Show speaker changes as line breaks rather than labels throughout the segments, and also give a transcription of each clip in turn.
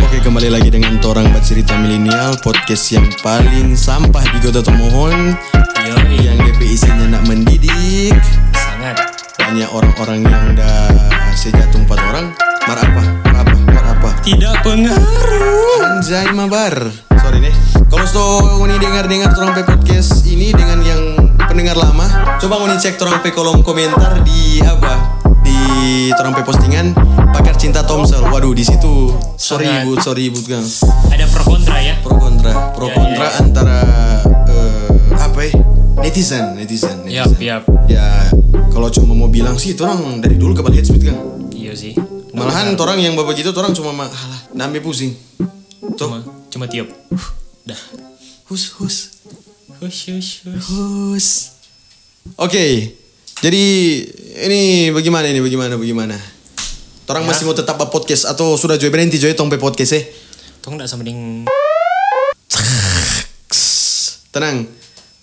Oke kembali lagi dengan Torang Bercerita Milenial Podcast yang paling sampah di kota Tomohon
Yoi,
Yang DP isinya nak mendidik
sangat.
Banyak orang-orang yang dah sejatung empat orang Mar apa? Mar apa? Mar apa?
Tidak pengaruh.
Anjay mabar Sorry nih Kalau so ngoni dengar-dengar Torang P Podcast ini Dengan yang pendengar lama Coba ngoni cek Torang P kolom komentar di apa? Di Torang P postingan Pakar Cinta Tomsel Waduh di situ Sorry
Sangat.
bu, sorry bu Gang.
Ada pro kontra ya.
pro kontra pro
Ya,
kontra
ya.
antara eh, apa ya netizen netizen,
Yap,
netizen.
yap.
ya kalau cuma mau bilang sih orang dari dulu kebal headspeed kan
Iya sih.
malahan orang yang bapak gitu orang cuma mah alah nambe pusing
Cuma,
tuh Uh,
cuma tiup. Dah.
hus hus
Hush, hush, hush.
hus oke jadi ini bagaimana ini bagaimana bagaimana Orang
Ya.
masih mau tetap buat podcast atau sudah joy berhenti joy tongpe podcast eh?
Tong dak sampening.
tenang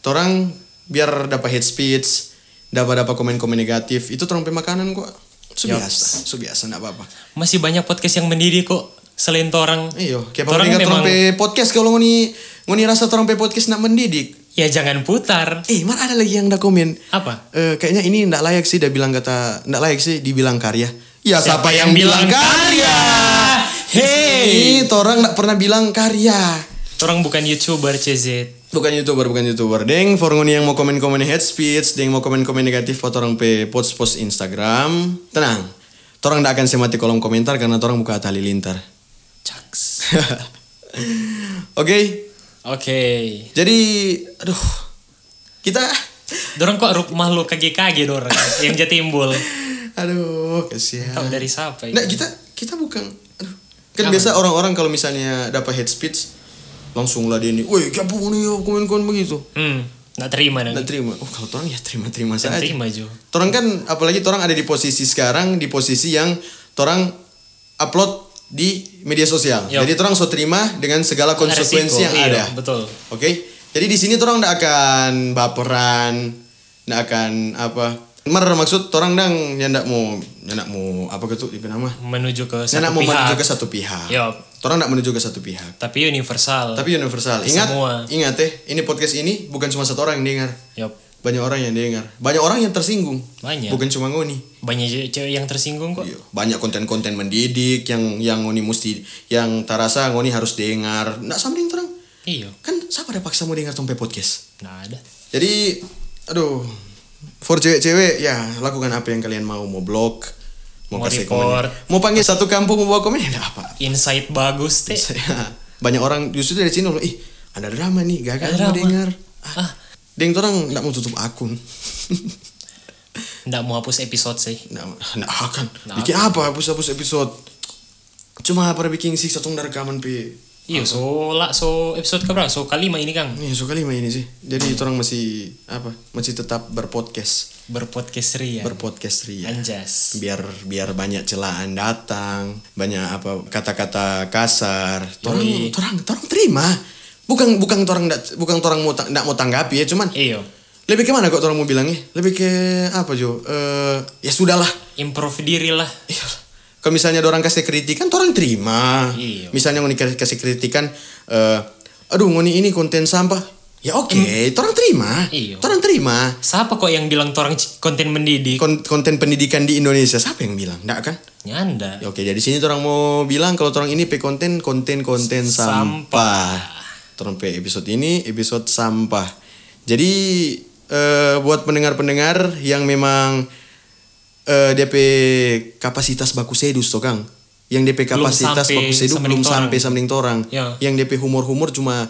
torang biar dapat hate speech dapat dapat komen komen negatif itu torang pake makanan kok su
Yup.
biasa su biasa nggak apa apa
Masih banyak podcast yang mendiri kok. Selain torang.
iyo kayak
Torang
pemerintah torang pe
memang-
podcast kalau ngoni ngoni rasa torang pe podcast nak mendidik
Ya jangan putar.
eh mar ada lagi yang dah komen
Apa?
Eh, kayaknya ini ndak layak sih dia bilang kata ndak layak sih dibilang karya ya siapa,
Siapa
yang,
yang
bilang
bilang
karya,
karya? Hey!
ini torang ndak pernah bilang karya
Torang bukan youtuber CZ.
Bukan youtuber, bukan youtuber. Deng, for ngoni yang mau komen-komen hate speech, deng mau komen-komen negatif, foto orang pe post post Instagram. Tenang, torang tidak akan semati kolom komentar karena torang buka tali lintar.
Caks.
Oke,
Oke.
jadi, aduh, kita,
Dorong kok rup makhluk KGKG dorong yang jatimbul.
Eh. aduh, kasihan.
Tahu dari siapa
Nggak,
ini?
kita, kita bukan, aduh. Kan
Apa?
biasa orang-orang kalau misalnya dapat hate speech, langsung lah dia ini, woi, kenapa ngoni ya komen-komen begitu?
Hmm, nggak terima
Nggak
nanti.
terima. Oh, kalau torang ya terima-terima
Nggak
saja.
terima Jo.
Torang kan apalagi torang ada di posisi sekarang di posisi yang torang upload di media sosial.
Yo.
Jadi torang so terima dengan segala konsekuensi
Iya. Resiko,
yang
iya,
ada.
Betul.
Oke. Jadi di sini torang ndak akan baperan, ndak akan apa. Mer maksud torang dang yang ndak mau yang ndak mau apa gitu di nama.
Menuju ke
Yang
satu
ndak mau
pihak. Iya.
menuju ke satu pihak.
Yo.
Torang ndak menuju ke satu pihak.
Tapi universal.
Tapi universal. Ingat,
Semua.
ingat teh, ini podcast ini bukan cuma satu orang yang dengar.
Yop.
Banyak orang yang dengar. Banyak orang yang tersinggung.
Banyak.
Bukan cuma ngoni.
Banyak ce- cewek yang tersinggung kok.
Iya, banyak konten-konten mendidik yang yang ngoni mesti yang tarasa ngoni harus dengar nggak samperin terang
Iya.
kan siapa ada paksa mau dengar tompe podcast
Nah ada.
jadi aduh for cewek-cewek ya lakukan apa yang kalian mau mau blog mau,
Mau
kasih
report.
komen mau panggil satu kampung mau bawa komen ya nggak apa
Insight bagus teh.
Saya- banyak orang justru dari sini orang, ih ada drama nih gagal
Ada
mau
drama.
dengar
Ah,
Deng orang nggak mau tutup akun
nggak mau hapus episode sih.
Nggak nggak Nah, akan.
Nggak
Bikin apa hapus-hapus episode? Cuma pada bikin sih satu dari rekaman pi.
Iya, so lah, so episode keberapa? So kalima ini kang
Nih suka lima ini sih. Jadi itu orang masih apa? Masih tetap berpodcast,
berpodcast ria.
berpodcast ria.
Anjas.
Biar biar banyak celaan datang, banyak apa kata-kata kasar. Torang,
Yoi.
torang, torang terima. Bukan bukan torang ndak- bukan torang mau ta- ndak mau tanggapi ya, cuman
Iyo.
lebih ke mana kok torang mau bilangnya? Lebih ke apa Jo? Eh ya sudahlah.
Improve diri lah.
Iyalah. Iya. Kalau misalnya ada orang kasih kritikan, tuh orang terima.
Iya.
Misalnya ngoni kasih kasih kritikan, eh, aduh ngoni ini konten sampah. Ya oke, tuh orang terima.
Hmm. Iya.
Tuh orang terima.
Siapa kok yang bilang torang c- konten mendidik?
Kon- konten pendidikan di Indonesia siapa yang bilang? Enggak kan?
Nyanda.
Ya oke, jadi sini tuh orang mau bilang kalau tuh orang ini pe konten konten konten sampah. Tuh orang pe episode ini episode sampah. Jadi eh, buat pendengar-pendengar yang memang eh, DP kapasitas baku sedus tuh Kang. Yang DP
Belum
kapasitas
sampai
baku sedus
sama
belum
dengan
sampai
orang.
sama dengan orang.
Ya.
Yang DP humor-humor cuma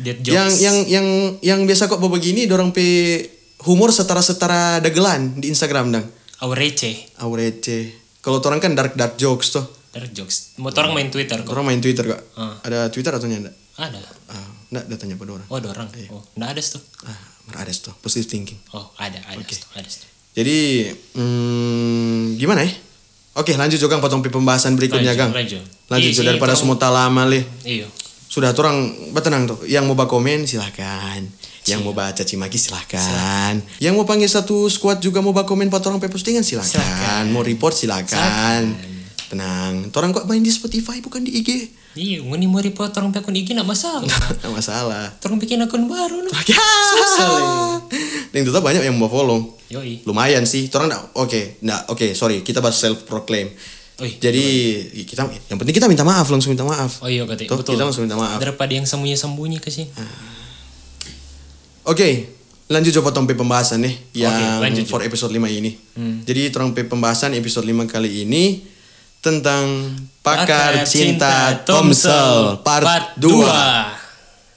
Dead jokes.
yang yang yang yang biasa kok begini dorong pe humor setara-setara dagelan di Instagram dang.
Aurece.
Aurece. Kalau orang kan dark dark jokes tuh.
Dark jokes. Mau torang main Twitter kok.
Orang main Twitter kak.
Ah.
Ada Twitter atau enggak?
Ada.
Ah, enggak ada tanya pada orang.
Oh,
Iya.
ada orang. Oh, nggak ada tuh.
Ah, merares tuh, positive thinking.
Oh, ada, ada,
Oke.
ada. ada.
Jadi hmm, gimana ya? Oke, lanjut juga potong pi pembahasan berikutnya,
Lanjut,
Kang.
lanjut.
Lanjut
Iya
Jo,
sih,
daripada
Kang.
semua tak lama leh.
Iya.
sudah orang betenang tuh yang mau baca komen silahkan yang mau baca cimaki silahkan. yang mau panggil satu squad juga mau baca komen pat orang pe postingan silahkan.
Silahkan.
mau report silahkan. tenang orang kok main di Spotify bukan di IG
Iya, ngoni mau report orang bikin akun IG nak masalah.
Nggak masalah
Orang bikin akun baru no.
Ya.
Susah, Le.
Dan tetap banyak yang mau follow.
Yoi.
Lumayan sih. Orang nggak- oke, nggak oke, sorry. Kita bahas self proclaim.
Oi.
Jadi kita yang penting kita minta maaf langsung minta maaf.
Oh iya kata
Tuh,
betul.
Kita langsung minta maaf. Oke,
Daripada yang sembunyi-sembunyi ke sini.
lanjut coba tompe pembahasan nih yang
lanjut,
for episode 5 ini. Jadi tolong pe pembahasan episode 5 kali ini tentang pakar, cinta, Tomsel part 2.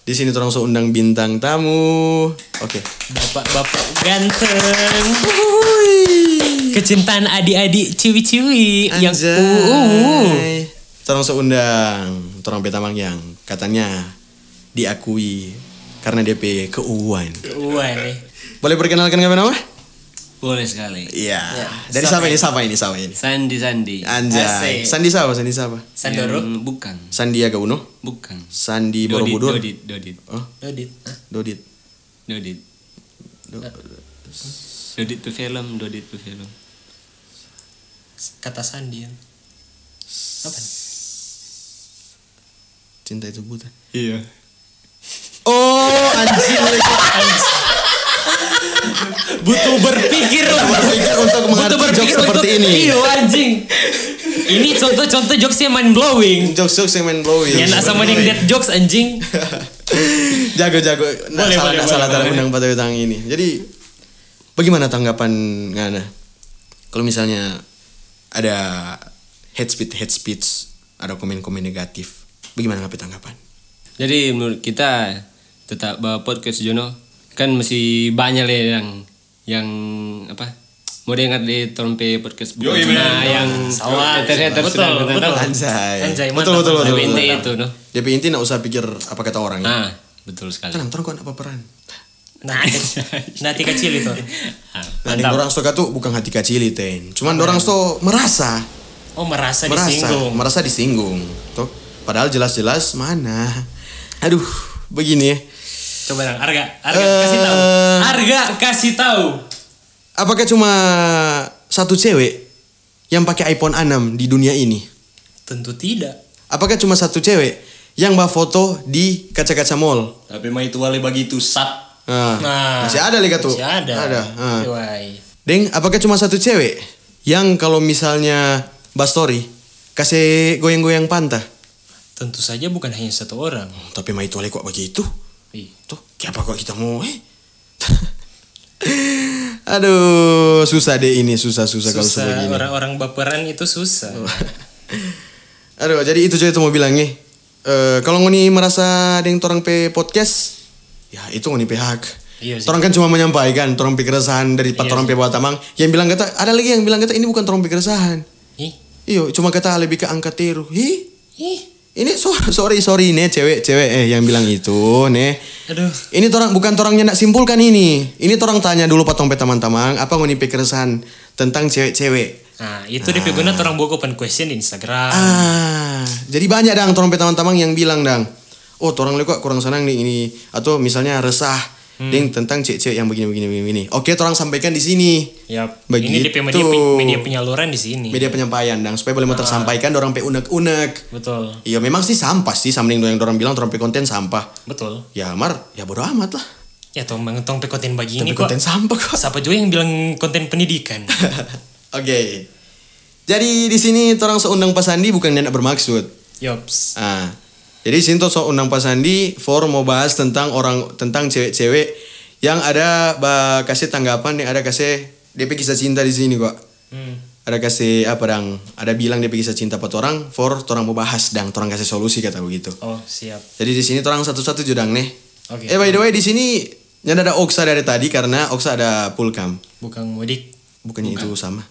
Di sini tolong langsung undang bintang tamu. Oke.
Bapak-bapak ganteng.
Wuih.
Kecintaan adik-adik ciwi-ciwi yang
Anjay.
uh, uh, uh.
Tolong seundang Torong Petamang yang katanya diakui karena DP keuuan.
uh. Wah nih.
Boleh perkenalkan kami nama?
Boleh sekali.
Iya.
Ya,
Dari siapa ini? Siapa ini? Siapa ini?
Sandi Sandi. Hmm.
Anjay.
Asik.
Sandi siapa? Sandi siapa?
Sandoro.
Yang- bukan.
Sandiaga Uno?
Bukan.
Sandi Borobudur?
Dodit, Dodit,
Oh,
Dodit. Hah?
Dodit.
Dodit.
Do-
Dodit tuh film, Dodit tuh film.
Kata Sandi. Apa?
Cinta itu buta.
Iya.
Oh, anjing.
Butuh berpikir lah.
Berpikir untuk
Butuh
mengerti
berpikir
jokes seperti
untuk-
ini.
Iya anjing. Ini contoh-contoh jokes yang mind blowing.
Jokes-jokes yang main Iya, blowing.
Yang nak sama yang dead jokes anjing.
jago-jago nah,
Boleh,
salah
boleh,
nak
boleh,
salah dalam
boleh.
undang patah utang ini jadi bagaimana tanggapan ngana kalau misalnya ada head speech head speech ada komen-komen negatif bagaimana ngapain tanggapan
Jadi menurut kita tetap bawa podcast Jono kan masih banyak lah yang yang apa mau dengar di Trompe podcast bukan
Yoi,
cuma
bener.
yang
Salah.
ternyata
Betul,
sudah betul,
betul.
anjay
Anjay,
betul
mantap,
betul betul,
Tapi
betul.
inti itu no.
jadi inti nggak usah pikir apa kata orang ya
Ah, betul sekali.
tenang terus kok apa peran
Nah,
Iya.
nanti kecil itu.
Ah,
nah, yang orang suka tuh bukan hati kecil ten cuman orang so merasa
Oh merasa
merasa
disinggung.
merasa disinggung tuh padahal jelas-jelas mana aduh begini ya
Coba dong, Arga, Arga kasih tahu.
Eh.
Arga kasih tahu.
Apakah cuma satu cewek yang pakai iPhone 6 di dunia ini?
Tentu tidak.
Apakah cuma satu cewek yang bawa foto di kaca-kaca mall?
Tapi mah itu wale begitu sat.
Ah,
Nah,
masih ada lagi tuh.
Masih ada. Iya.
Ada. ah.
Wai.
Deng, apakah cuma satu cewek yang kalau misalnya bas story kasih goyang-goyang pantah?
Tentu saja bukan hanya satu orang.
Tapi mah itu ale kok begitu?
Ih.
Tuh, kenapa kok kita mau? Eh? Aduh, susah deh ini, susah-susah kalau Oh. sudah
Susah
gini.
orang-orang baperan itu susah.
Aduh, jadi itu aja itu mau bilang nih. Eh, kalau ngoni merasa ada yang torang pe podcast, ya itu ngoni pe hak.
Iya sih.
Torang kan cuma menyampaikan torang pe keresahan dari pat
Iya
torang pe Batamang. Yang bilang kata ada lagi yang bilang kata ini bukan torang pe keresahan.
Ih,
Iyo, cuma kata lebih ke angka teru. Hi,
ih,
ini so- sorry sorry nih cewek-cewek eh yang bilang itu nih.
aduh.
Ini torang bukan torangnya nak simpulkan ini. Ini torang tanya dulu patong pe teman-teman apa ngoni pe keresahan tentang cewek-cewek.
Nah, itu dia dipiguna orang buku open question di Instagram.
Ah, jadi banyak dang trompet teman-teman yang bilang dang, oh torang lekok kurang senang nih ini atau misalnya resah
Hmm.
ding tentang cewek-cewek yang begini begini begini. begini. Oke, torang sampaikan di sini.
Yap.
Begitu.
Ya, Ini DP media, pe- media penyaluran di sini.
Media penyampaian dang supaya boleh mau tersampaikan dorang pe unek-unek.
Betul.
Iya, memang sih sampah sih sama dengan yang dorang bilang torang pe konten sampah.
Betul.
Ya, Mar, ya bodo amat lah.
Ya tong mengentong pe konten bagi ini
Tapi
kok.
konten sampah kok.
Siapa juga yang bilang konten pendidikan?
Oke. Jadi di sini torang seundang Pak Sandi bukan nenek bermaksud.
Yops.
Ah. Jadi sini tuh so undang Pak Sandi for mau bahas tentang orang tentang cewek-cewek yang ada bah, kasih tanggapan yang ada kasih DP kisah cinta di sini kok.
Hmm.
Ada kasih apa dang? Ada bilang DP kisah cinta buat orang for orang mau bahas dang orang kasih solusi kata begitu.
Oh, siap.
Jadi di sini orang satu-satu judang nih.
Oke.
Eh by the way di sini nyanda ada Oksa dari tadi karena Oksa ada pulkam.
Bukan mudik.
Bukannya itu sama.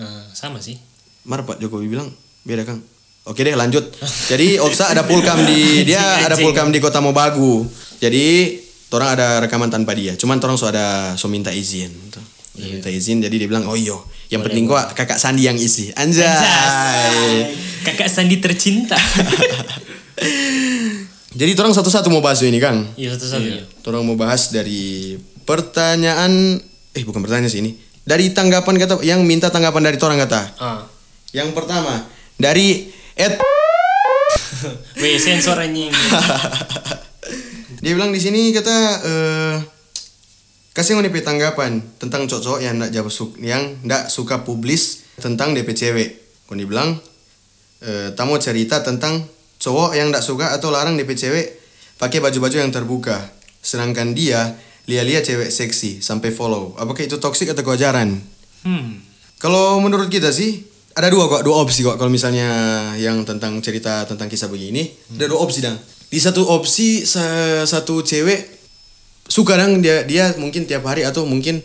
Eh, sama sih.
Mar Pak Jokowi bilang beda Kang. Oke deh lanjut. Jadi Oksa ada pulkam di dia ada pulkam di Kota Mobagu. Jadi orang ada rekaman tanpa dia. Cuman orang so ada so minta izin. tuh. Dia Minta izin jadi dia bilang oh iyo. Yang penting gua kakak Sandi yang isi. Anjay.
Anjas. Kakak Sandi tercinta.
Jadi orang satu-satu mau bahas ini Kang.
Iya satu-satu. Iya.
Orang mau bahas dari pertanyaan eh bukan pertanyaan sih ini. Dari tanggapan kata yang minta tanggapan dari orang kata.
Ah.
Yang pertama dari Ed
Weh sensor anjing.
Dia bilang di sini kata eh kasih ngoni pe tanggapan tentang cocok yang ndak jago suk- yang ndak suka publis tentang DP cewek. Kon dibilang eh tamu cerita tentang cowok yang ndak suka atau larang DP cewek pakai baju-baju yang terbuka. Sedangkan dia lia-lia cewek seksi sampai follow. Apakah itu toksik atau kewajaran?
Hmm.
Kalau menurut kita sih ada dua kok, dua opsi kok kalau misalnya yang tentang cerita tentang kisah begini, ada dua opsi dang. Di satu opsi sa- satu cewek suka dang dia dia mungkin tiap hari atau mungkin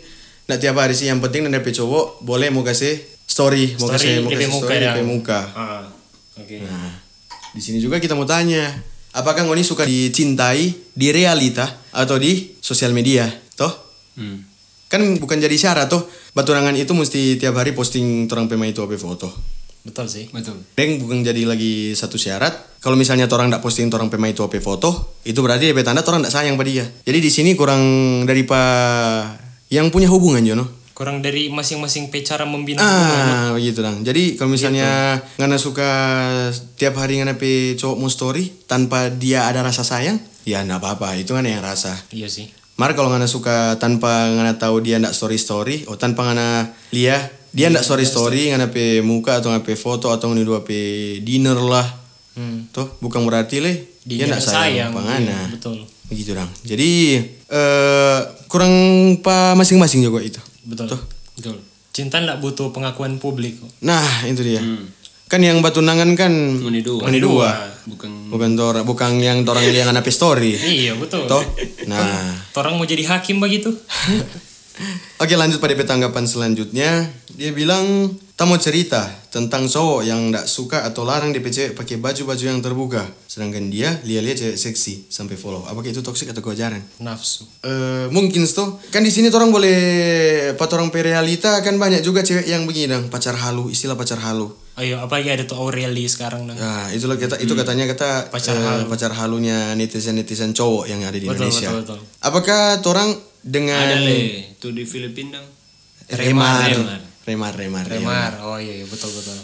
nggak tiap hari sih yang penting dari cowok boleh mau kasih story, mau kasih
Story
mau
DP
kasih
muka
story
ya.
DP muka.
Ah. Oke.
Di sini juga kita mau tanya, apakah Ngoni suka dicintai di realita atau di sosial media? Toh?
Hmm.
Kan bukan jadi syarat toh, baturangan itu mesti tiap hari posting terang pemain itu apa foto.
Betul sih.
Betul.
Deng bukan jadi lagi satu syarat. Kalau misalnya orang ndak posting orang pemain itu HP foto, itu berarti DP tanda orang ndak sayang pada dia. Jadi di sini kurang dari pa yang punya hubungan Jono.
Kurang dari masing-masing pe cara membina hubungan.
Ah, begitu dong. Jadi kalau
Iya,
misalnya ngana suka tiap hari ngana pe cowok mau story tanpa dia ada rasa sayang, ya ndak apa-apa. Itu kan yang rasa.
Iya sih.
Mar kalau ngana suka tanpa ngana tahu dia ndak story story, oh tanpa ngana lia dia
Iya,
ndak story story ngana pe muka atau ngana pe foto atau ngana dua pe dinner lah.
Hmm.
Toh bukan berarti leh dia ndak sayang, apa ngana.
Iya, betul.
Begitu dong. Jadi eh kurang pa masing-masing juga itu.
Betul.
Betul.
Cinta ndak butuh pengakuan publik kok.
Nah, itu dia. Kan yang batu nangan kan
Meni dua.
meni dua.
Bukan
Bukan tora, bukan yang orang yang ngana pe story.
Iya, betul.
Toh. Nah,
Orang mau jadi hakim begitu?
Oke lanjut pada tanggapan selanjutnya Dia bilang Tak mau cerita tentang cowok yang gak suka atau larang DP cewek pakai baju-baju yang terbuka Sedangkan dia lihat-lihat cewek seksi sampai follow Apakah itu toksik atau kewajaran?
Nafsu.
Eh mungkin tuh kan di sini orang boleh pat orang realita kan banyak juga cewek yang begini dong pacar halu istilah pacar halu
Ayo, apalagi ada tuh Aureli sekarang nang.
nah itu lah kata itu katanya kata
Pacar
eh,
halu.
pacar halunya netizen netizen cowok yang ada di
Betul,
Indonesia
betul, betul.
apakah orang dengan
ada le tuh Eh, di Filipina dong.
remar
Remar.
remar remar remar.
Remar. Oh iya, iya betul betul.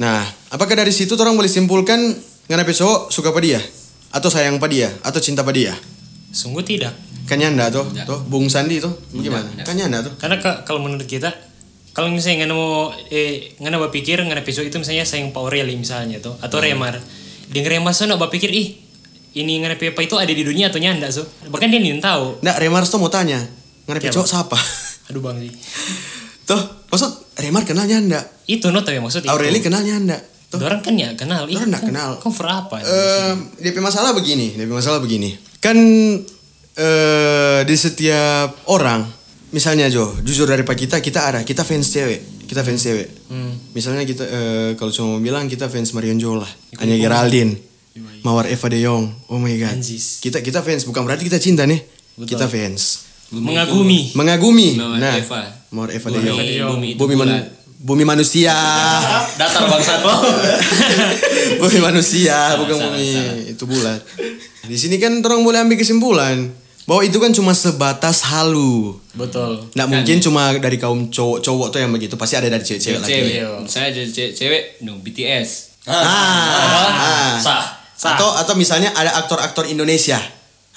Nah, apakah dari situ orang boleh simpulkan ngarepe cowok suka pada dia atau sayang pada dia atau cinta pada dia?
Sungguh tidak.
Kayaknya enggak tuh,
Enggak.
tuh Bung Sandi tuh bagaimana?
Enggak, enggak.
Kayaknya enggak tuh.
Karena ka- kalau menurut kita kalau misalnya nggak mau eh nggak mau pikir nggak episode itu misalnya sayang Pak Aureli misalnya tuh atau
Hmm.
Remar denger Remar so nggak pikir ih ini nggak apa itu ada di dunia atau nyanda so bahkan dia nih tahu
Enggak, Remar tuh mau tanya, ngarepe
Iya,
cowok siapa?
aduh bang sih
tuh, maksud Remar kenalnya enggak?
itu no tapi maksudnya
Aureli kenalnya enggak? Tuh.
orang kan ya kenal Ih,
Dorang nggak
kan-
kenal.
kan for apa
Eh, DP masalah begini, DP masalah begini. Kan eh di setiap orang, misalnya Jo, jujur dari Pak kita, kita ada, kita fans cewek, kita fans cewek. Misalnya kita eh, kalau cuma mau bilang kita fans Marion Jola, Anya Geraldine, Mawar Eva De Jong. Oh my god.
Anjis.
Kita kita fans bukan berarti kita cinta nih. Kita fans.
mengagumi
Mengagumi. Nah,
Mawar Eva.
Mawar Eva De
Bumi,
Jong.
De Jong.
bumi, itu
Bumi, manu-
bulat.
bumi manusia.
datar bangsa
Oh.
lo.
bumi manusia bukan
salah,
bumi
salah.
itu bulat di sini kan orang boleh ambil kesimpulan bahwa itu kan cuma sebatas halu
betul
nggak mungkin cuma dari kaum cowok-cowok tuh yang begitu pasti ada dari cewek-cewek lagi
Cewek. Saya jadi cewek, cewek no BTS.
ah, ah.
Sah.
Sah.
atau atau misalnya ada aktor-aktor Indonesia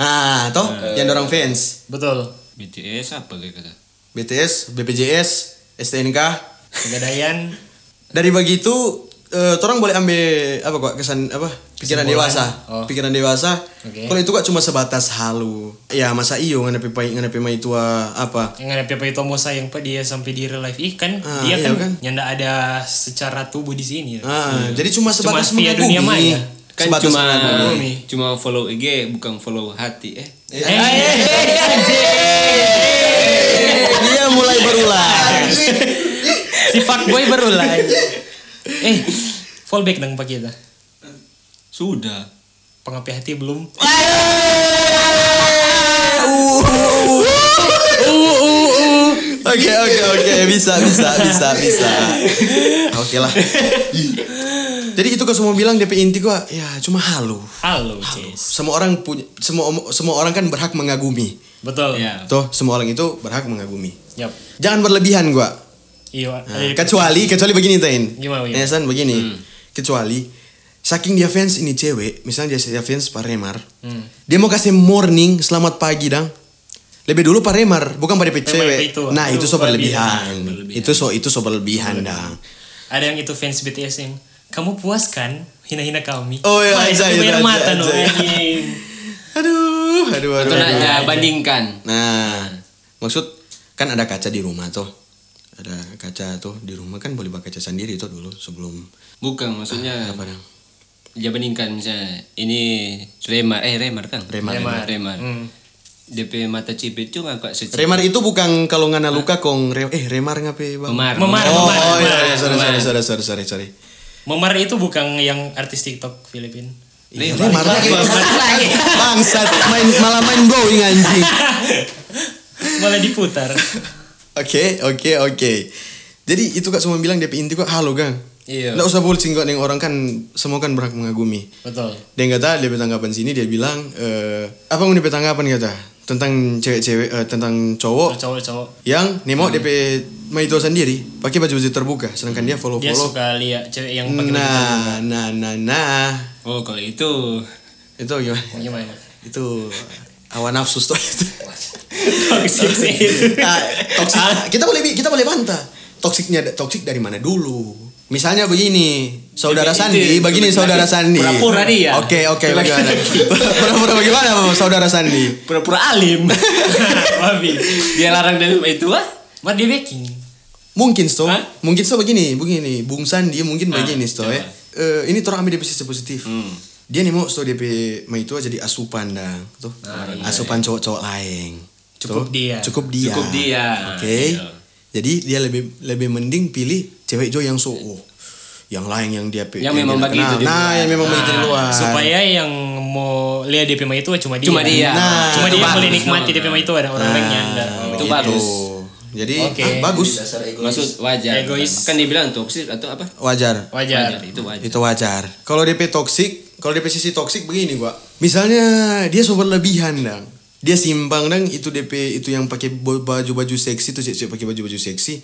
ah toh
Eh.
yang dorong fans
betul
BTS apa kayak kata?
BTS BPJS STNK
pegadaian
dari begitu eh, orang boleh ambil apa kok kesan apa pikiran
Kesimpulan.
dewasa
Oh.
pikiran dewasa
Oke.
kalau itu kok cuma sebatas halu ya masa iyo nganepe pai nganepe mai tua apa
yang ada apa itu mau sayang pak dia sampai di real life ih kan
Ah,
dia
iya
kan,
kan.
nyanda ada secara tubuh di sini
Ah, jadi cuma
Cuma
sebatas
via dunia
mengagumi.
maya.
Kan
Sebatas
cuma
mengagumi.
Bumi.
cuma follow IG bukan follow hati eh.
Eh, eh, eh,
Eh, dia mulai berulang.
si fuckboy baru lah eh fallback dong pak kita
Sudah.
pengapi hati belum
Oke oke oke bisa bisa bisa bisa. Oke lah. Jadi itu kau semua bilang DP inti gua ya cuma halu.
Halo, Cis.
Semua orang punya semua semua orang kan berhak mengagumi.
Betul.
Iya.
Tuh, semua orang itu berhak mengagumi.
Yap.
Jangan berlebihan gua.
Iya.
Nah,
ada-
kecuali kecuali begini tain.
Gimana, Hmm. gimana?
Ya, San, begini. Kecuali saking dia fans ini cewek, misalnya dia dia fans Pak Remar.
Hmm.
Dia mau kasih morning, selamat pagi dang. Lebih dulu Pak Remar, bukan pada DP
Remar
cewek.
itu,
nah,
itu
itu so
berlebihan.
berlebihan. Itu so itu so berlebihan dang.
Ada yang itu fans BTS yang kamu puas kan hina-hina kami.
Oh, iya,
Wah,
anjay,
itu
itu
air
anjay,
mata no,
anjay.
anjing.
Aduh, aduh, aduh.
Atau nak
aduh.
ya, bandingkan.
Nah, maksud kan ada kaca di rumah tuh. Ada kaca tuh di rumah kan boleh pakai kaca sendiri tuh dulu sebelum
Bukan
Eh.
maksudnya
Ah, apa dang?
dia bandingkan misalnya ini Remar eh Remar kan?
Remar.
Remar. Remar.
Hmm.
DP mata cipit cuma kok secipit.
Remar itu bukan kalau ngana luka kong re- eh remar ngapain bang?
Memar.
Memar,
Oh,
memar,
oh, iya,
memar,
iya, sorry,
memar.
sorry, sorry, sorry, sorry, sorry.
Memar itu bukan yang artis TikTok Filipin.
Iya,
Remar.
Remar lagi, bangsat main malah main going anjing.
Malah diputar.
Oke, oke, oke. Jadi itu kak cuma bilang DP inti kok halo gang.
Iya.
Nggak usah bullshit kok neng orang kan semua kan berhak mengagumi.
Betul.
Dia kata dia tanggapan sini dia bilang eh apa yang DP tanggapan kata tentang cewek-cewek eh, tentang cowok
Cowok-cowok
yang nemo DP Maito sendiri pakai baju-baju terbuka sedangkan dia
dia
follow-follow.
suka lihat cewek yang pakai baju
Nah, nah, nah, nah.
Oh, kalau itu
Itu gimana?
terbuka. gimana?
Itu hawa nafsu tuh.
Toxic sih itu.
Nah, toksik. Kita boleh kita boleh bantah. Toksiknya toksik dari mana dulu? Misalnya begini, saudara
Itu-
Sandi,
itu-
begini
itu-
saudara Sandi.
pura-pura dia.
Oke, oke,
Itu-
bagaimana? Pura-pura bagaimana saudara Sandi?
pura-pura alim.
Babi.
dia larang dari itu ah.
Mar dia baking.
Mungkin so,
Hah?
mungkin so begini, begini. Bung Sandi mungkin
Ah,
begini so
coba. Hmm.
ya. Eh, ini terang ambil dari sisi positif. Dia nih mau so DP mah itu aja jadi asupan dah, tuh.
iya.
asupan cowok-cowok lain. Tuh.
Cukup dia.
Cukup dia.
Cukup dia.
Oke.
Iya.
Jadi dia lebih lebih mending pilih cewek jo yang so oh. Yang lain yang dia pilih.
Yang memang bagi itu di
Nah,
luar.
yang memang begitu di luar.
supaya yang mau lihat DP itu cuma dia.
Cuma dia.
Nah,
Cuma
itu
dia yang
bagus
boleh nikmati
namanya.
DP itu ada orang lain yang enggak.
Nah,
Itu
begitu.
bagus.
Jadi
Oke.
ah, bagus.
Maksud wajar.
Egois.
Kan dibilang toksik atau apa?
Wajar.
Wajar.
Ya, Itu wajar.
Itu wajar. Kalau DP toksik, kalau DP sisi toksik begini, Pak. Misalnya dia so berlebihan, Dang. Dia simpang, Dang, itu DP itu yang pakai bo- baju-baju seksi itu cewek pakai baju-baju seksi,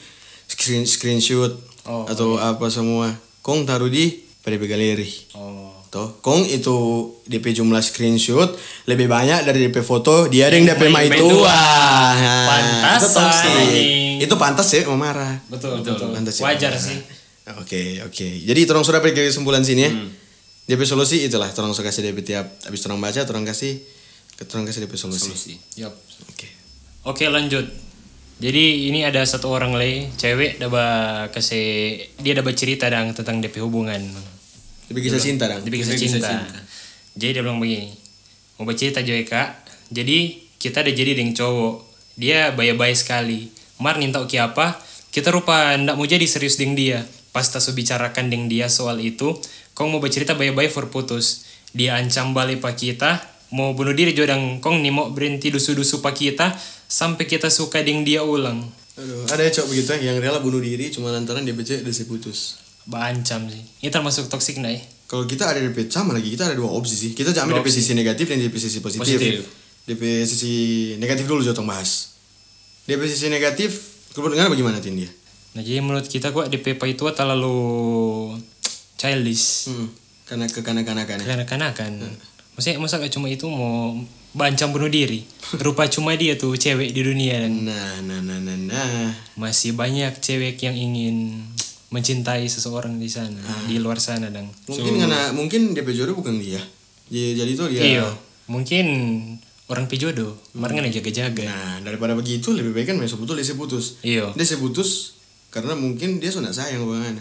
screen screenshot
Oh,
atau
iya.
apa semua. Kong taruh di PDP galeri.
Oh.
Toh, Kong itu DP jumlah screenshot lebih banyak dari DP foto dia ada yang DP
Yang
mai
main
tua.
tua.
Nah,
Pantasan,
itu toksik.
anjing.
Itu pantas sih mau marah.
Betul,
Betul,
betul.
pantas ya.
Wajar sih.
Oke, oke. Jadi terang sudah pergi kesimpulan sini ya.
Hmm.
DP solusi itulah terang sudah kasih DP tiap habis terang baca terang kasih ke terang kasih DP solusi.
Solusi.
Oke.
Oke, lanjut. Jadi ini ada satu orang lagi cewek daba kasih dia daba cerita dang tentang DP hubungan.
DP kisah cinta dong.
Dia kisah
Dia kisah
cinta.
cinta.
Jadi dia bilang begini, mau bercerita Joy kak. Jadi kita ada jadi dengan cowok. Dia baya-baya sekali. Mar ninta oke apa? Kita rupa ndak mau jadi serius dengan dia. Pas tak su bicarakan dengan dia soal itu, kong mau bercerita baya-baya for putus. Dia ancam balik pak kita, mau bunuh diri jodang kong nih mau berhenti dusu-dusu pak kita sampai kita suka dengan dia ulang.
Aduh, ada ya cowok begitu ya, yang rela bunuh diri cuma lantaran DP cewek udah saya putus.
Baancam sih. Ini termasuk toksik nah eh?
Kalau kita ada DP sama lagi, kita ada dua opsi sih. Kita jangan ambil DP sisi negatif dan DP sisi positif.
Positif.
DP sisi negatif dulu jotong bahas. DP sisi negatif, kalau dengar bagaimana tin dia?
Nah jadi menurut kita kok DP itu terlalu childish.
Hmm. Karena kekanak-kanakan. ya.
kanak-kanakan. Maksudnya masa gak cuma itu mau bancang bunuh diri. Rupa cuma dia tuh cewek di dunia dan
Nah, nah, nah, nah, nah.
masih banyak cewek yang ingin mencintai seseorang di sana, di luar sana dan
Mungkin karena mungkin DP jodoh bukan dia. Ya, jadi itu dia.
Iya, mungkin orang pijodo, kemarin aja jaga-jaga.
Nah, daripada begitu lebih baik kan besok betul dia saya putus.
Iya.
Dia saya putus karena mungkin dia sudah sayang bagaimana.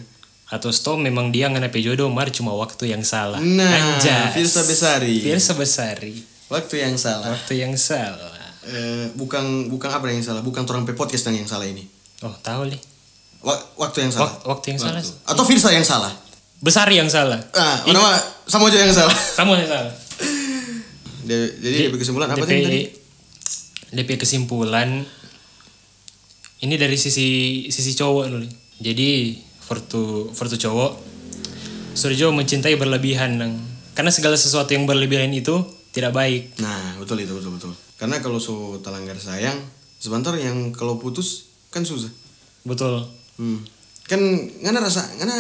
Atau stop memang dia ngana pijodo, mar cuma waktu yang salah.
Nah,
Anjas.
Firsa Besari.
Firsa Besari.
Waktu yang salah.
Waktu yang salah.
Eh, bukan bukan apa yang salah, bukan orang pe podcast yang salah ini.
Oh, tahu nih.
Wa- waktu yang salah.
Wak- waktu yang salah.
Atau Firsa yang salah.
Besari yang salah.
Ah, nama sama aja yang salah.
Kamu yang salah.
Dia- jadi
Iya,
DP kesimpulan apa
DP
sih tadi?
DP kesimpulan ini dari sisi sisi cowok dulu. Jadi for to for to cowok Surjo mencintai berlebihan nang. Karena segala sesuatu yang berlebihan itu tidak baik.
Nah, betul itu, betul betul. Karena kalau so telanggar sayang, sebentar yang kalau putus kan susah.
Betul.
Hmm. Kan ngana rasa ngana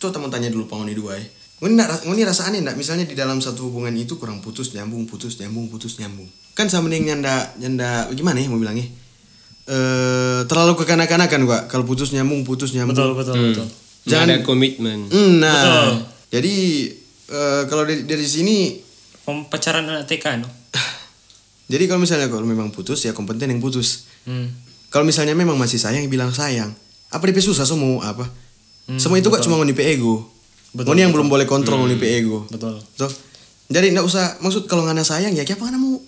coba teman tanya dulu pangoni dua ya. Ngoni nak ngoni rasa aneh ndak misalnya di dalam satu hubungan itu kurang putus nyambung putus nyambung putus nyambung. Kan sama dengan nyanda nyanda gimana ya mau bilangnya? Eh terlalu kekanak-kanakan gua kalau putus nyambung putus nyambung.
Betul, betul, betul.
Jangan-
Hmm. Jangan ada komitmen.
Hmm, nah.
Betul.
Jadi eh, kalau dari, dari sini
Pem- Pacaran anak TK no.
jadi kalau misalnya kalau memang putus ya kompeten yang putus.
Hmm.
Kalau misalnya memang masih sayang ya bilang sayang. Apa DP susah semua apa? semua itu kan cuma ngoni ego.
Hmm, Betul, Hmm.
Ngoni yang belum boleh kontrol ngoni ego.
Betul.
Betul. Jadi nggak usah maksud kalau ngana sayang ya siapa ngana mau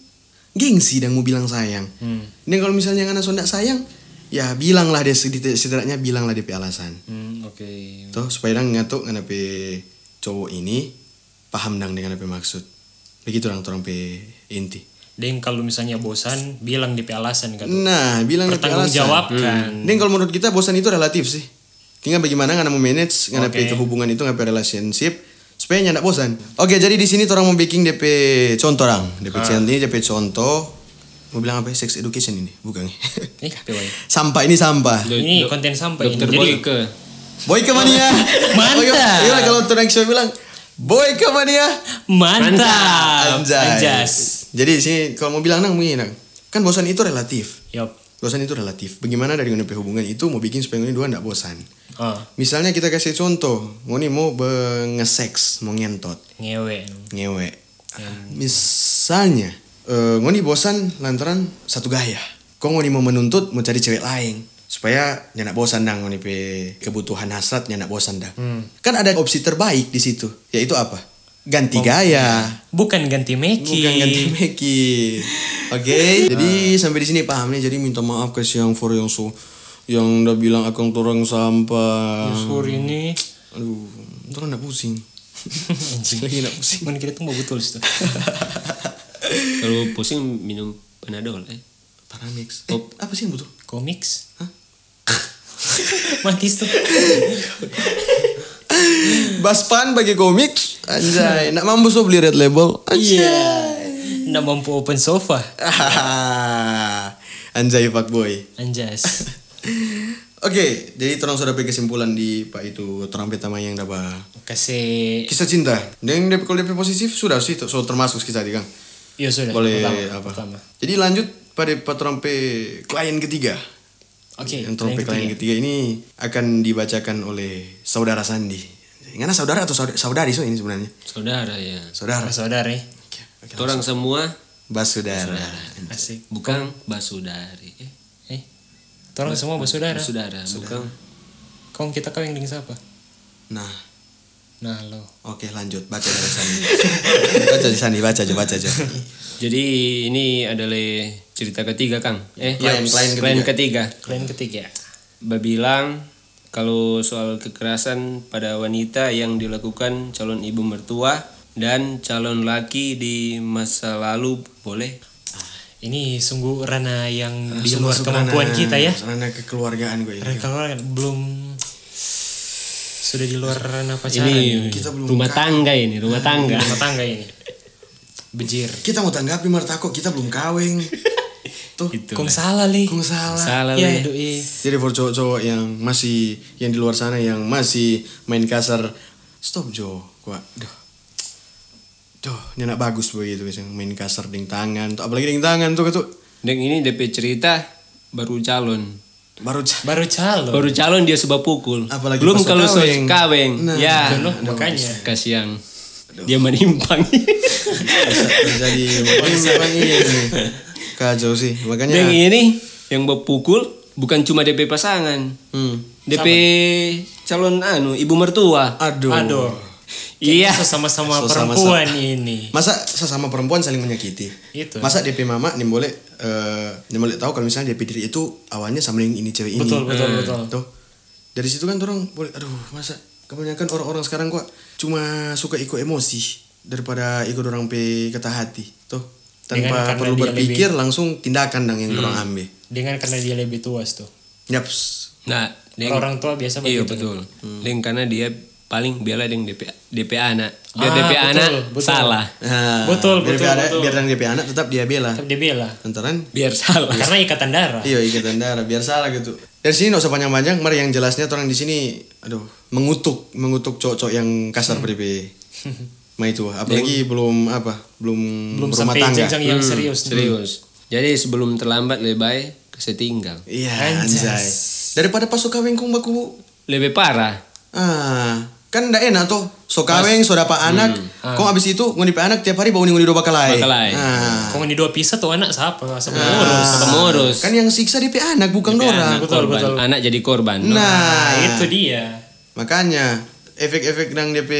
gengsi dan mau bilang sayang.
Hmm.
Dan kalau misalnya ngana so nggak sayang ya bilanglah dia sedi- setidaknya bilanglah DP alasan.
Hmm, oke.
Tuh supaya orang ngatuk ngana pe cowok ini paham dang dengan apa maksud. Begitu orang orang pe inti.
Deng kalau misalnya bosan bilang di alasan kan.
Nah, bilang DP
Bertanggung
alasan.
jawab kan.
Dan kalau menurut kita bosan itu relatif sih. Tinggal bagaimana ngana mau manage ngana
Oke.
pe kehubungan itu ngana pe relationship supaya nyanda bosan. Oke, jadi di sini orang mau baking DP contoh orang. DP
Ah.
contoh ini DP contoh mau bilang apa? ya? Sex education ini, bukan?
Nih, PY.
sampah ini sampah.
Do-
Ini
do-
konten sampai ini.
Dokter
Jadi
Boyke.
Boy ke mania.
Mantap.
Boy ke- Iya kalau Tunang Show bilang boy ya." ke mania.
mantap.
Anjay.
Anjas.
Jadi di sini kalau mau bilang nang mungkin nang. Kan bosan itu relatif.
Yop.
Bosan itu relatif. Bagaimana dari ngene hubungan itu mau bikin supaya ngene dua ndak bosan.
Oh,
Misalnya kita kasih contoh, ngoni mau be- nge-sex, mau ngentot,
ngewe.
ngewe. Misalnya, eh, ngoni bosan lantaran satu gaya. Kok ngoni mau menuntut mau cari cewek lain supaya nyanak bosan dang ngoni pe kebutuhan hasrat nyanak bosan dang. Kan ada opsi terbaik di situ, yaitu apa? Ganti gaya.
Bukan ganti meki.
Bukan ganti meki. Oke, jadi sampai di sini paham nih. Jadi minta maaf ke siang for yang so yang udah bilang akang orang sampah.
Sur Oh, ini.
Aduh, ntar nak pusing.
Anjing.
Lagi nak pusing.
Mana kira tuh mau betul situ.
Kalau pusing minum Panadol eh.
Paramix. Eh,
Oh.
apa sih yang butuh?
Komiks.
Hah?
Matis tuh.
Baspan bagi komik. Anjay, nak mampu so beli red label. Anjay.
Iya. Nggak mampu open sofa.
Ah, Anjay pak boy.
Anjas.
Oke, jadi terang sudah pergi kesimpulan di pak itu terang pertama yang dapat
Kasih.
kisah cinta. Dan DP kalau DP positif sudah sih, so termasuk kisah tadi kang.
Ya sudah.
Boleh
pertama,
apa?
pertama.
Jadi lanjut pada patron P klien ketiga.
Oke.
yang gitu. trompet klien
ketiga.
ketiga ini akan dibacakan oleh saudara Sandi. Ngana saudara atau saudari, saudari so ini sebenarnya?
Saudara ya.
Saudara.
Sama saudara. ya.
Oke, oke.
Orang semua
Basudara.
Asik.
bukan basudari. Eh,
Eh. Tolong semua bersaudara.
Saudara, bukan
Kau kita kau yang dengan siapa?
Nah,
Nah lo.
oke lanjut baca dari Sandi. baca dari Sandi, baca aja, baca aja.
Jadi ini adalah cerita ketiga Kang. Eh,
Klien-
yaps,
klien
klien ketiga.
Klien ketiga.
Babilang kalau soal kekerasan pada wanita yang dilakukan calon ibu mertua dan calon laki di masa lalu boleh.
Ini sungguh ranah yang di
Langsung
luar
masuk
kemampuan
ranah-
kita ya.
Ranah kekeluargaan gue ini.
Ranah keluar kan belum sudah di luar ranah pacaran.
Ini
Kita belum
rumah
kaya.
tangga ini, rumah tangga.
rumah tangga ini. Bejir.
Kita mau tanggapi Martako, kita belum kawin. Tuh,
Gitu.
Kong salah li.
kung salah.
Salah
ya,
Le.
doi.
Jadi for cowok-cowok yang masih yang di luar sana yang masih main kasar, stop Jo. Gua, duh. Duh, nyenak bagus begitu guys yang main kasar ding tangan, tuh apalagi ding tangan tuh gitu. tuh
Dan ini DP cerita baru calon.
baru ca-
Baru calon.
Baru calon dia sebab pukul.
Apalagi
belum
pas
kalau so
kaweng.
kaweng.
Nah,
ya,
Loh, makanya.
kasihan. Dia menimpang.
jadi memang ini gitu. kacau sih makanya
Dan ini yang berpukul bukan cuma DP pasangan.
hmm.
DP calon anu ibu mertua.
aduh
Aduh.
Iya.
Kita sama-sama
Sesama-
perempuan ini.
masa sesama perempuan saling menyakiti
Itu.
masa DP mama nih boleh eh nih boleh tahu kalau misalnya DP diri itu awalnya sama yang ini cewek ini
Betul, betul, betul.
Tuh. Dari situ kan orang boleh aduh masa kebanyakan orang-orang sekarang gua cuma suka ikut emosi daripada ikut orang pe kata hati. Tuh.
Dengan
Tanpa
karena
perlu
dia Hmm.
berpikir langsung tindakan dang yang orang ambil.
Dengan karena dia lebih tua tuh.
Yaps.
Nah, deng-
Orang tua biasa
Iya
begitu.
Hmm.
betul. Deng karena dia paling bela yang DPA DPA anak
Ah,
dia DPA
betul,
anak
betul.
salah
Nah,
Betul,
biar
betul,
dia ada-
betul.
biar yang DP anak tetap dia bela.
Tetap dia bela.
Tentaran
biar salah
Karena ikatan darah.
Iya ikatan darah biar salah gitu. Dari sini nggak usah panjang-panjang, mari yang jelasnya tuh orang di sini aduh mengutuk mengutuk cowok-cowok yang
Hmm.
kasar PDP. Ma itu apalagi belum apa belum,
Belum
berumah
sampai
tangga.
jenjang yang serius.
serius jadi sebelum terlambat lebih baik kesetinggal
Iya
Anjas.
anjay. Daripada pas suka wengkung baku
lebih parah
ah kan ndak enak tuh sokaweng sodapa anak
Hmm. Ah.
kok abis itu ngundi pe anak tiap hari bau ngundi dua bakalai
Bakalai.
ah.
Kau di dua pisah tuh anak siapa? Siapa ngurus?
pengurus
kan yang siksa DP anak bukan
Tapi anak
orang
Betul,
korban
betul.
anak jadi korban
nah,
Nah, itu dia.
Makanya efek-efek yang DP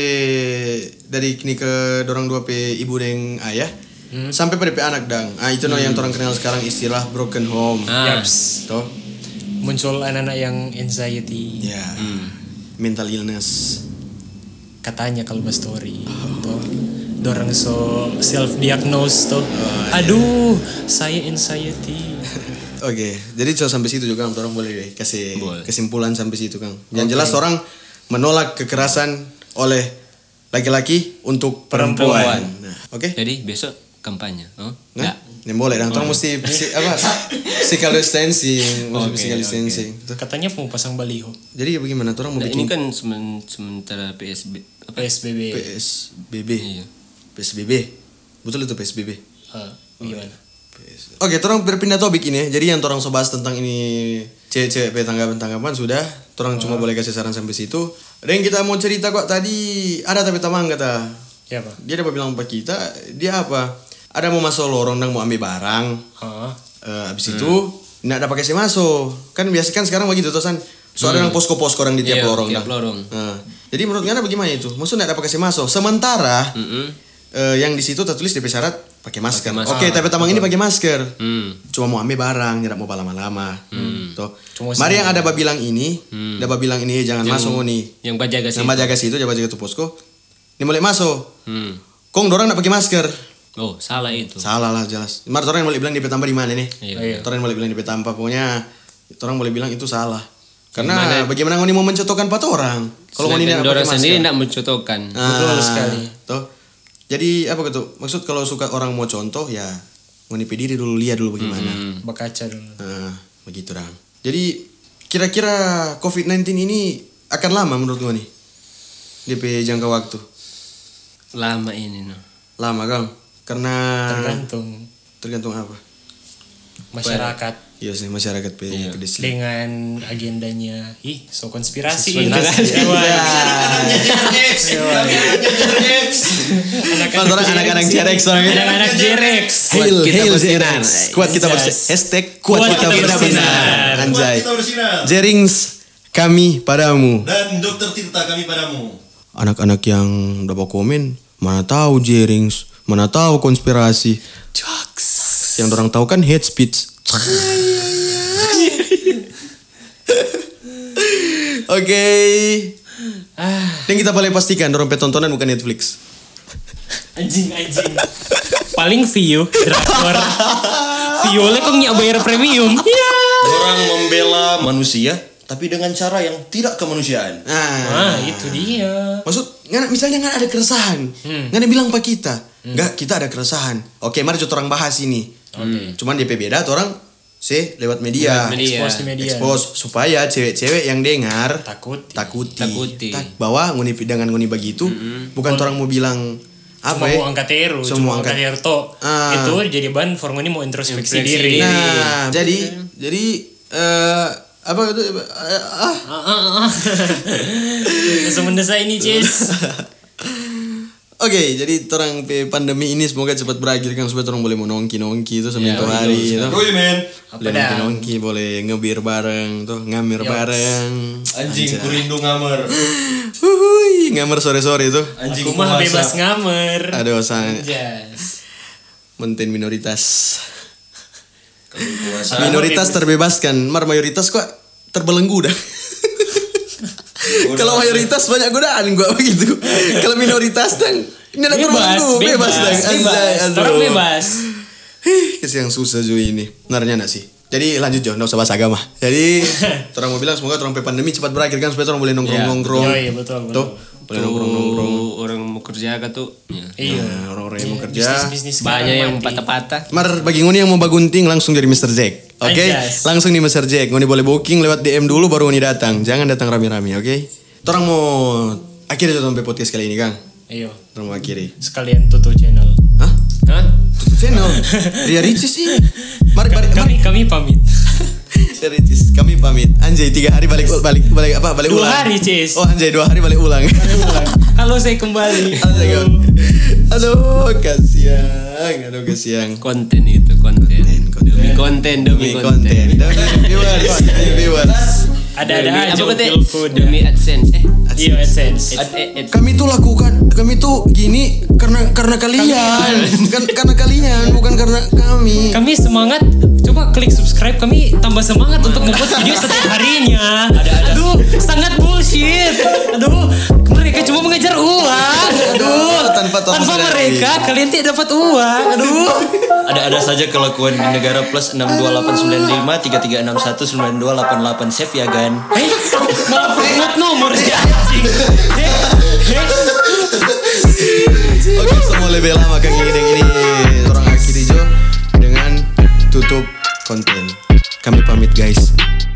dari kini ke dorong dua p ibu deng ayah
Hmm.
sampai pada p anak dang. Ah itu no yang orang kenal sekarang istilah broken home.
Ah.
Yaps.
Toh?
Ya, Muncul anak-anak yang anxiety.
Ya.
Hmm.
Mental illness.
katanya kalau bahas story tuh dorang so self diagnose tuh aduh saya anxiety
Oke, jadi so sampai situ juga Kang. orang boleh deh kasih
Boleh.
kesimpulan sampai situ Kang. Yang jelas orang menolak kekerasan oleh laki-laki untuk perempuan.
Perempuan.
Nah, Oke.
jadi besok kampanye
Nah,
oh enggak
yang boleh. Dan orang mesti si- apa? Physical distancing, mesti
Oke,
physical
oke.
distancing. Tuh.
katanya mau pasang baliho
Jadi ya bagaimana? Orang mau
Nah,
bikin
ini kan semen- sementara PSB apa
Iya.
psbb
PSBB.
Iya.
PSBB. Betul itu PSBB.
Eh, gimana
Oke, orang berpindah topik ini ya. Jadi yang orang so bahas tentang ini cewek-cewek pe tanggapan-tanggapan sudah. Orang cuma boleh kasih saran sampai situ. Dan kita mau cerita kok tadi ada tapi tamang kata.
ya apa
Dia dapat bilang apa kita? Dia apa? Ada mau masuk lorong dan mau ambil barang.
Hah?
Eh, abis itu
Hmm.
nggak ada pakai si masuk kan biasa kan sekarang begitu tosan so ada yang posko-posko orang di tiap
Iya,
lorong
tiap
dah.
lorong.
Nah, jadi menurut Ngana bagaimana itu maksudnya nggak ada pakai si masuk sementara
Mm-mm.
eh, yang di situ tertulis di syarat pakai masker,
masker.
oke tapi tamang ini pakai masker
Hmm.
cuma mau ambil barang nyerak mau lama-lama Tuh.
Cuma
mari yang ada babilang ini
Hmm.
ada babilang ini eh, jangan masuk oh, nih
yang bajaga sih
yang jaga situ jaga jaga tuh posko ini mulai masuk
Hmm.
kong dorang nggak pakai masker
oh salah itu
salah lah jelas mar orang yang mulai bilang di tambah di mana nih
Iya.
Iya.
Orang boleh bilang di Petampa pokoknya orang boleh bilang itu salah. Karena
Gimana?
bagaimana ngoni mau mencontohkan pat orang? Kalau ngoni
Sedangkan
tidak
Dora
pakai masker.
sendiri tidak mencontohkan
Nah,
Betul sekali.
Toh. Jadi apa gitu? Maksud kalau suka orang mau contoh ya ngoni pe diri dulu lihat dulu bagaimana.
Hmm.
bakaca dulu
Nah, begitu orang. Jadi kira-kira COVID-19 ini akan lama menurut ngoni? DP jangka waktu.
lama ini no
Lama, Kang. Karena
tergantung
tergantung apa?
masyarakat
Iya sih masyarakat pe pedes.
dengan agendanya ih so konspirasi
Konspirasi.
konspirasi
Kalau orang anak-anak cerek orang ini.
kan anak-anak jerex
Hail,
Kuat
hail Jerings. Kuat kita
kita bersinar.
Anjas.
bersinar. Hashtag kuat,
Iya. Kuat
kita,
kita
bersinar.
bersinar.
Anjay.
Kuat kita bersinar.
Jerings kami padamu.
Dan dokter Tirta kami padamu.
Anak-anak yang udah bawa komen, mana tahu Jerings, mana tahu konspirasi. Yang orang tahu kan hate speech. Oke. Dan kita boleh pastikan dorong tontonan bukan Netflix.
anjing anjing paling view drakor view oleh kok nyak bayar premium iya
Orang membela manusia tapi dengan cara yang tidak kemanusiaan.
Nah.
ah itu dia
Maksud, ngana- misalnya nggak ada keresahan,
Hmm.
nggak ada bilang pak kita, nggak kita ada keresahan. Oke, mari coba orang bahas ini. Cuman DP beda, tuh orang sih lewat media,
Lewat media.
Nah, expose di media
expose supaya cewek-cewek yang dengar
takut
takuti,
Takuti.
Tak- bahwa nguni dengan nguni begitu, bukan orang mau bilang apa
cuma
ya?
mau angkat teru
Cuma
cuma
angkat-
angkat teru to
Ah.
itu jadi bahan for ini mau introspeksi diri
Introspeksi
Iya.
diri.
Nah, jadi jadi eh, apa itu eh, ah
Ah, ah, ah. langsung mendesak ini Cis
Oke, jadi orang pe- pandemi ini semoga cepat berakhir kan supaya orang boleh mau nongki-nongki itu
Iya,
Ya,
seminggu
betul,
hari.
betul.
gitu.
Kuy men.
apa
boleh
dah
nongki boleh ngebir bareng tuh ngamir
Yops.
bareng
Anjing kurindu ngamer.
Huhuy, ngamer sore sore tuh
Anjing
aku mah bebas ngamer
aduh sang
Jas
menten minoritas
puasa.
minoritas terbebaskan mar mayoritas kok terbelenggu dah kalau mayoritas banyak godaan gua begitu kalau minoritas dan ini ada
bebas
terbelenggu
bebas
bebas dan anjay
bebas
aduh.
orang bebas
Hih, kasih yang susah Jo ini. Benarnya nak sih. Jadi lanjut Jo, nggak usah bahas agama. Jadi orang mau bilang semoga orang pandemi cepat berakhir kan supaya orang boleh nongkrong-nongkrong.
Iya. Yoi, betul, betul.
Tuh,
waktu orang mau kerja kan tuh
Iya.
Nah, orang-orang yang mau kerja
Bisnis-bisnis
banyak
sekarang
yang
mati.
patah-patah
Mar bagi Nguni yang mau bagunting langsung jadi Mr. Jack. Oke,
Anjas.
langsung di Mr. Jack. Nguni boleh booking lewat DM dulu baru Nguni datang. Jangan datang rame-rame, oke? Torang mau akhirnya sudah sampai podcast kali ini, Kang.
Iya.
Torang mau akhiri.
Sekalian tutup channel.
Hah?
Hah?
Tutup channel. Ria Ricis sih. Mari mari mari.
Kami kami pamit.
Ria Ricis, kami pamit. Anjay, tiga hari balik balik balik apa? Balik
Dua
ulang.
hari, Cis.
Oh, anjay, dua hari balik ulang.
Halo saya kembali.
Anjay, Kang. Aduh, kasihan. Aduh, kasihan.
konten itu konten
konten.
demi konten demi
Demi
konten
konten. Demi viewers, demi viewers.
Ada-ada
Demi-
aja.
apa kata
Wilful dan-
demi adsense eh
Iya AdSense.
Ad- eh, ads-
kami tuh lakukan kami tuh gini karena karena kalian kan karena kalian bukan karena kami
Kami semangat. Coba klik subscribe. Kami tambah semangat untuk membuat video setiap harinya. Aduh, sangat bullshit. Aduh, mereka cuma mengejar uang. Aduh,
Tanpa tolong
tanpa
sadari.
mereka kalian tidak dapat uang. Aduh.
Ada-ada saja kelakuan di negara plus 62895 3361 9288 save ya gan.
Eh, malah buat nomor sih anjing. Eh, eh.
oke semua lebih lama kang Ideng ini orang akhiri jo dengan tutup konten kami pamit guys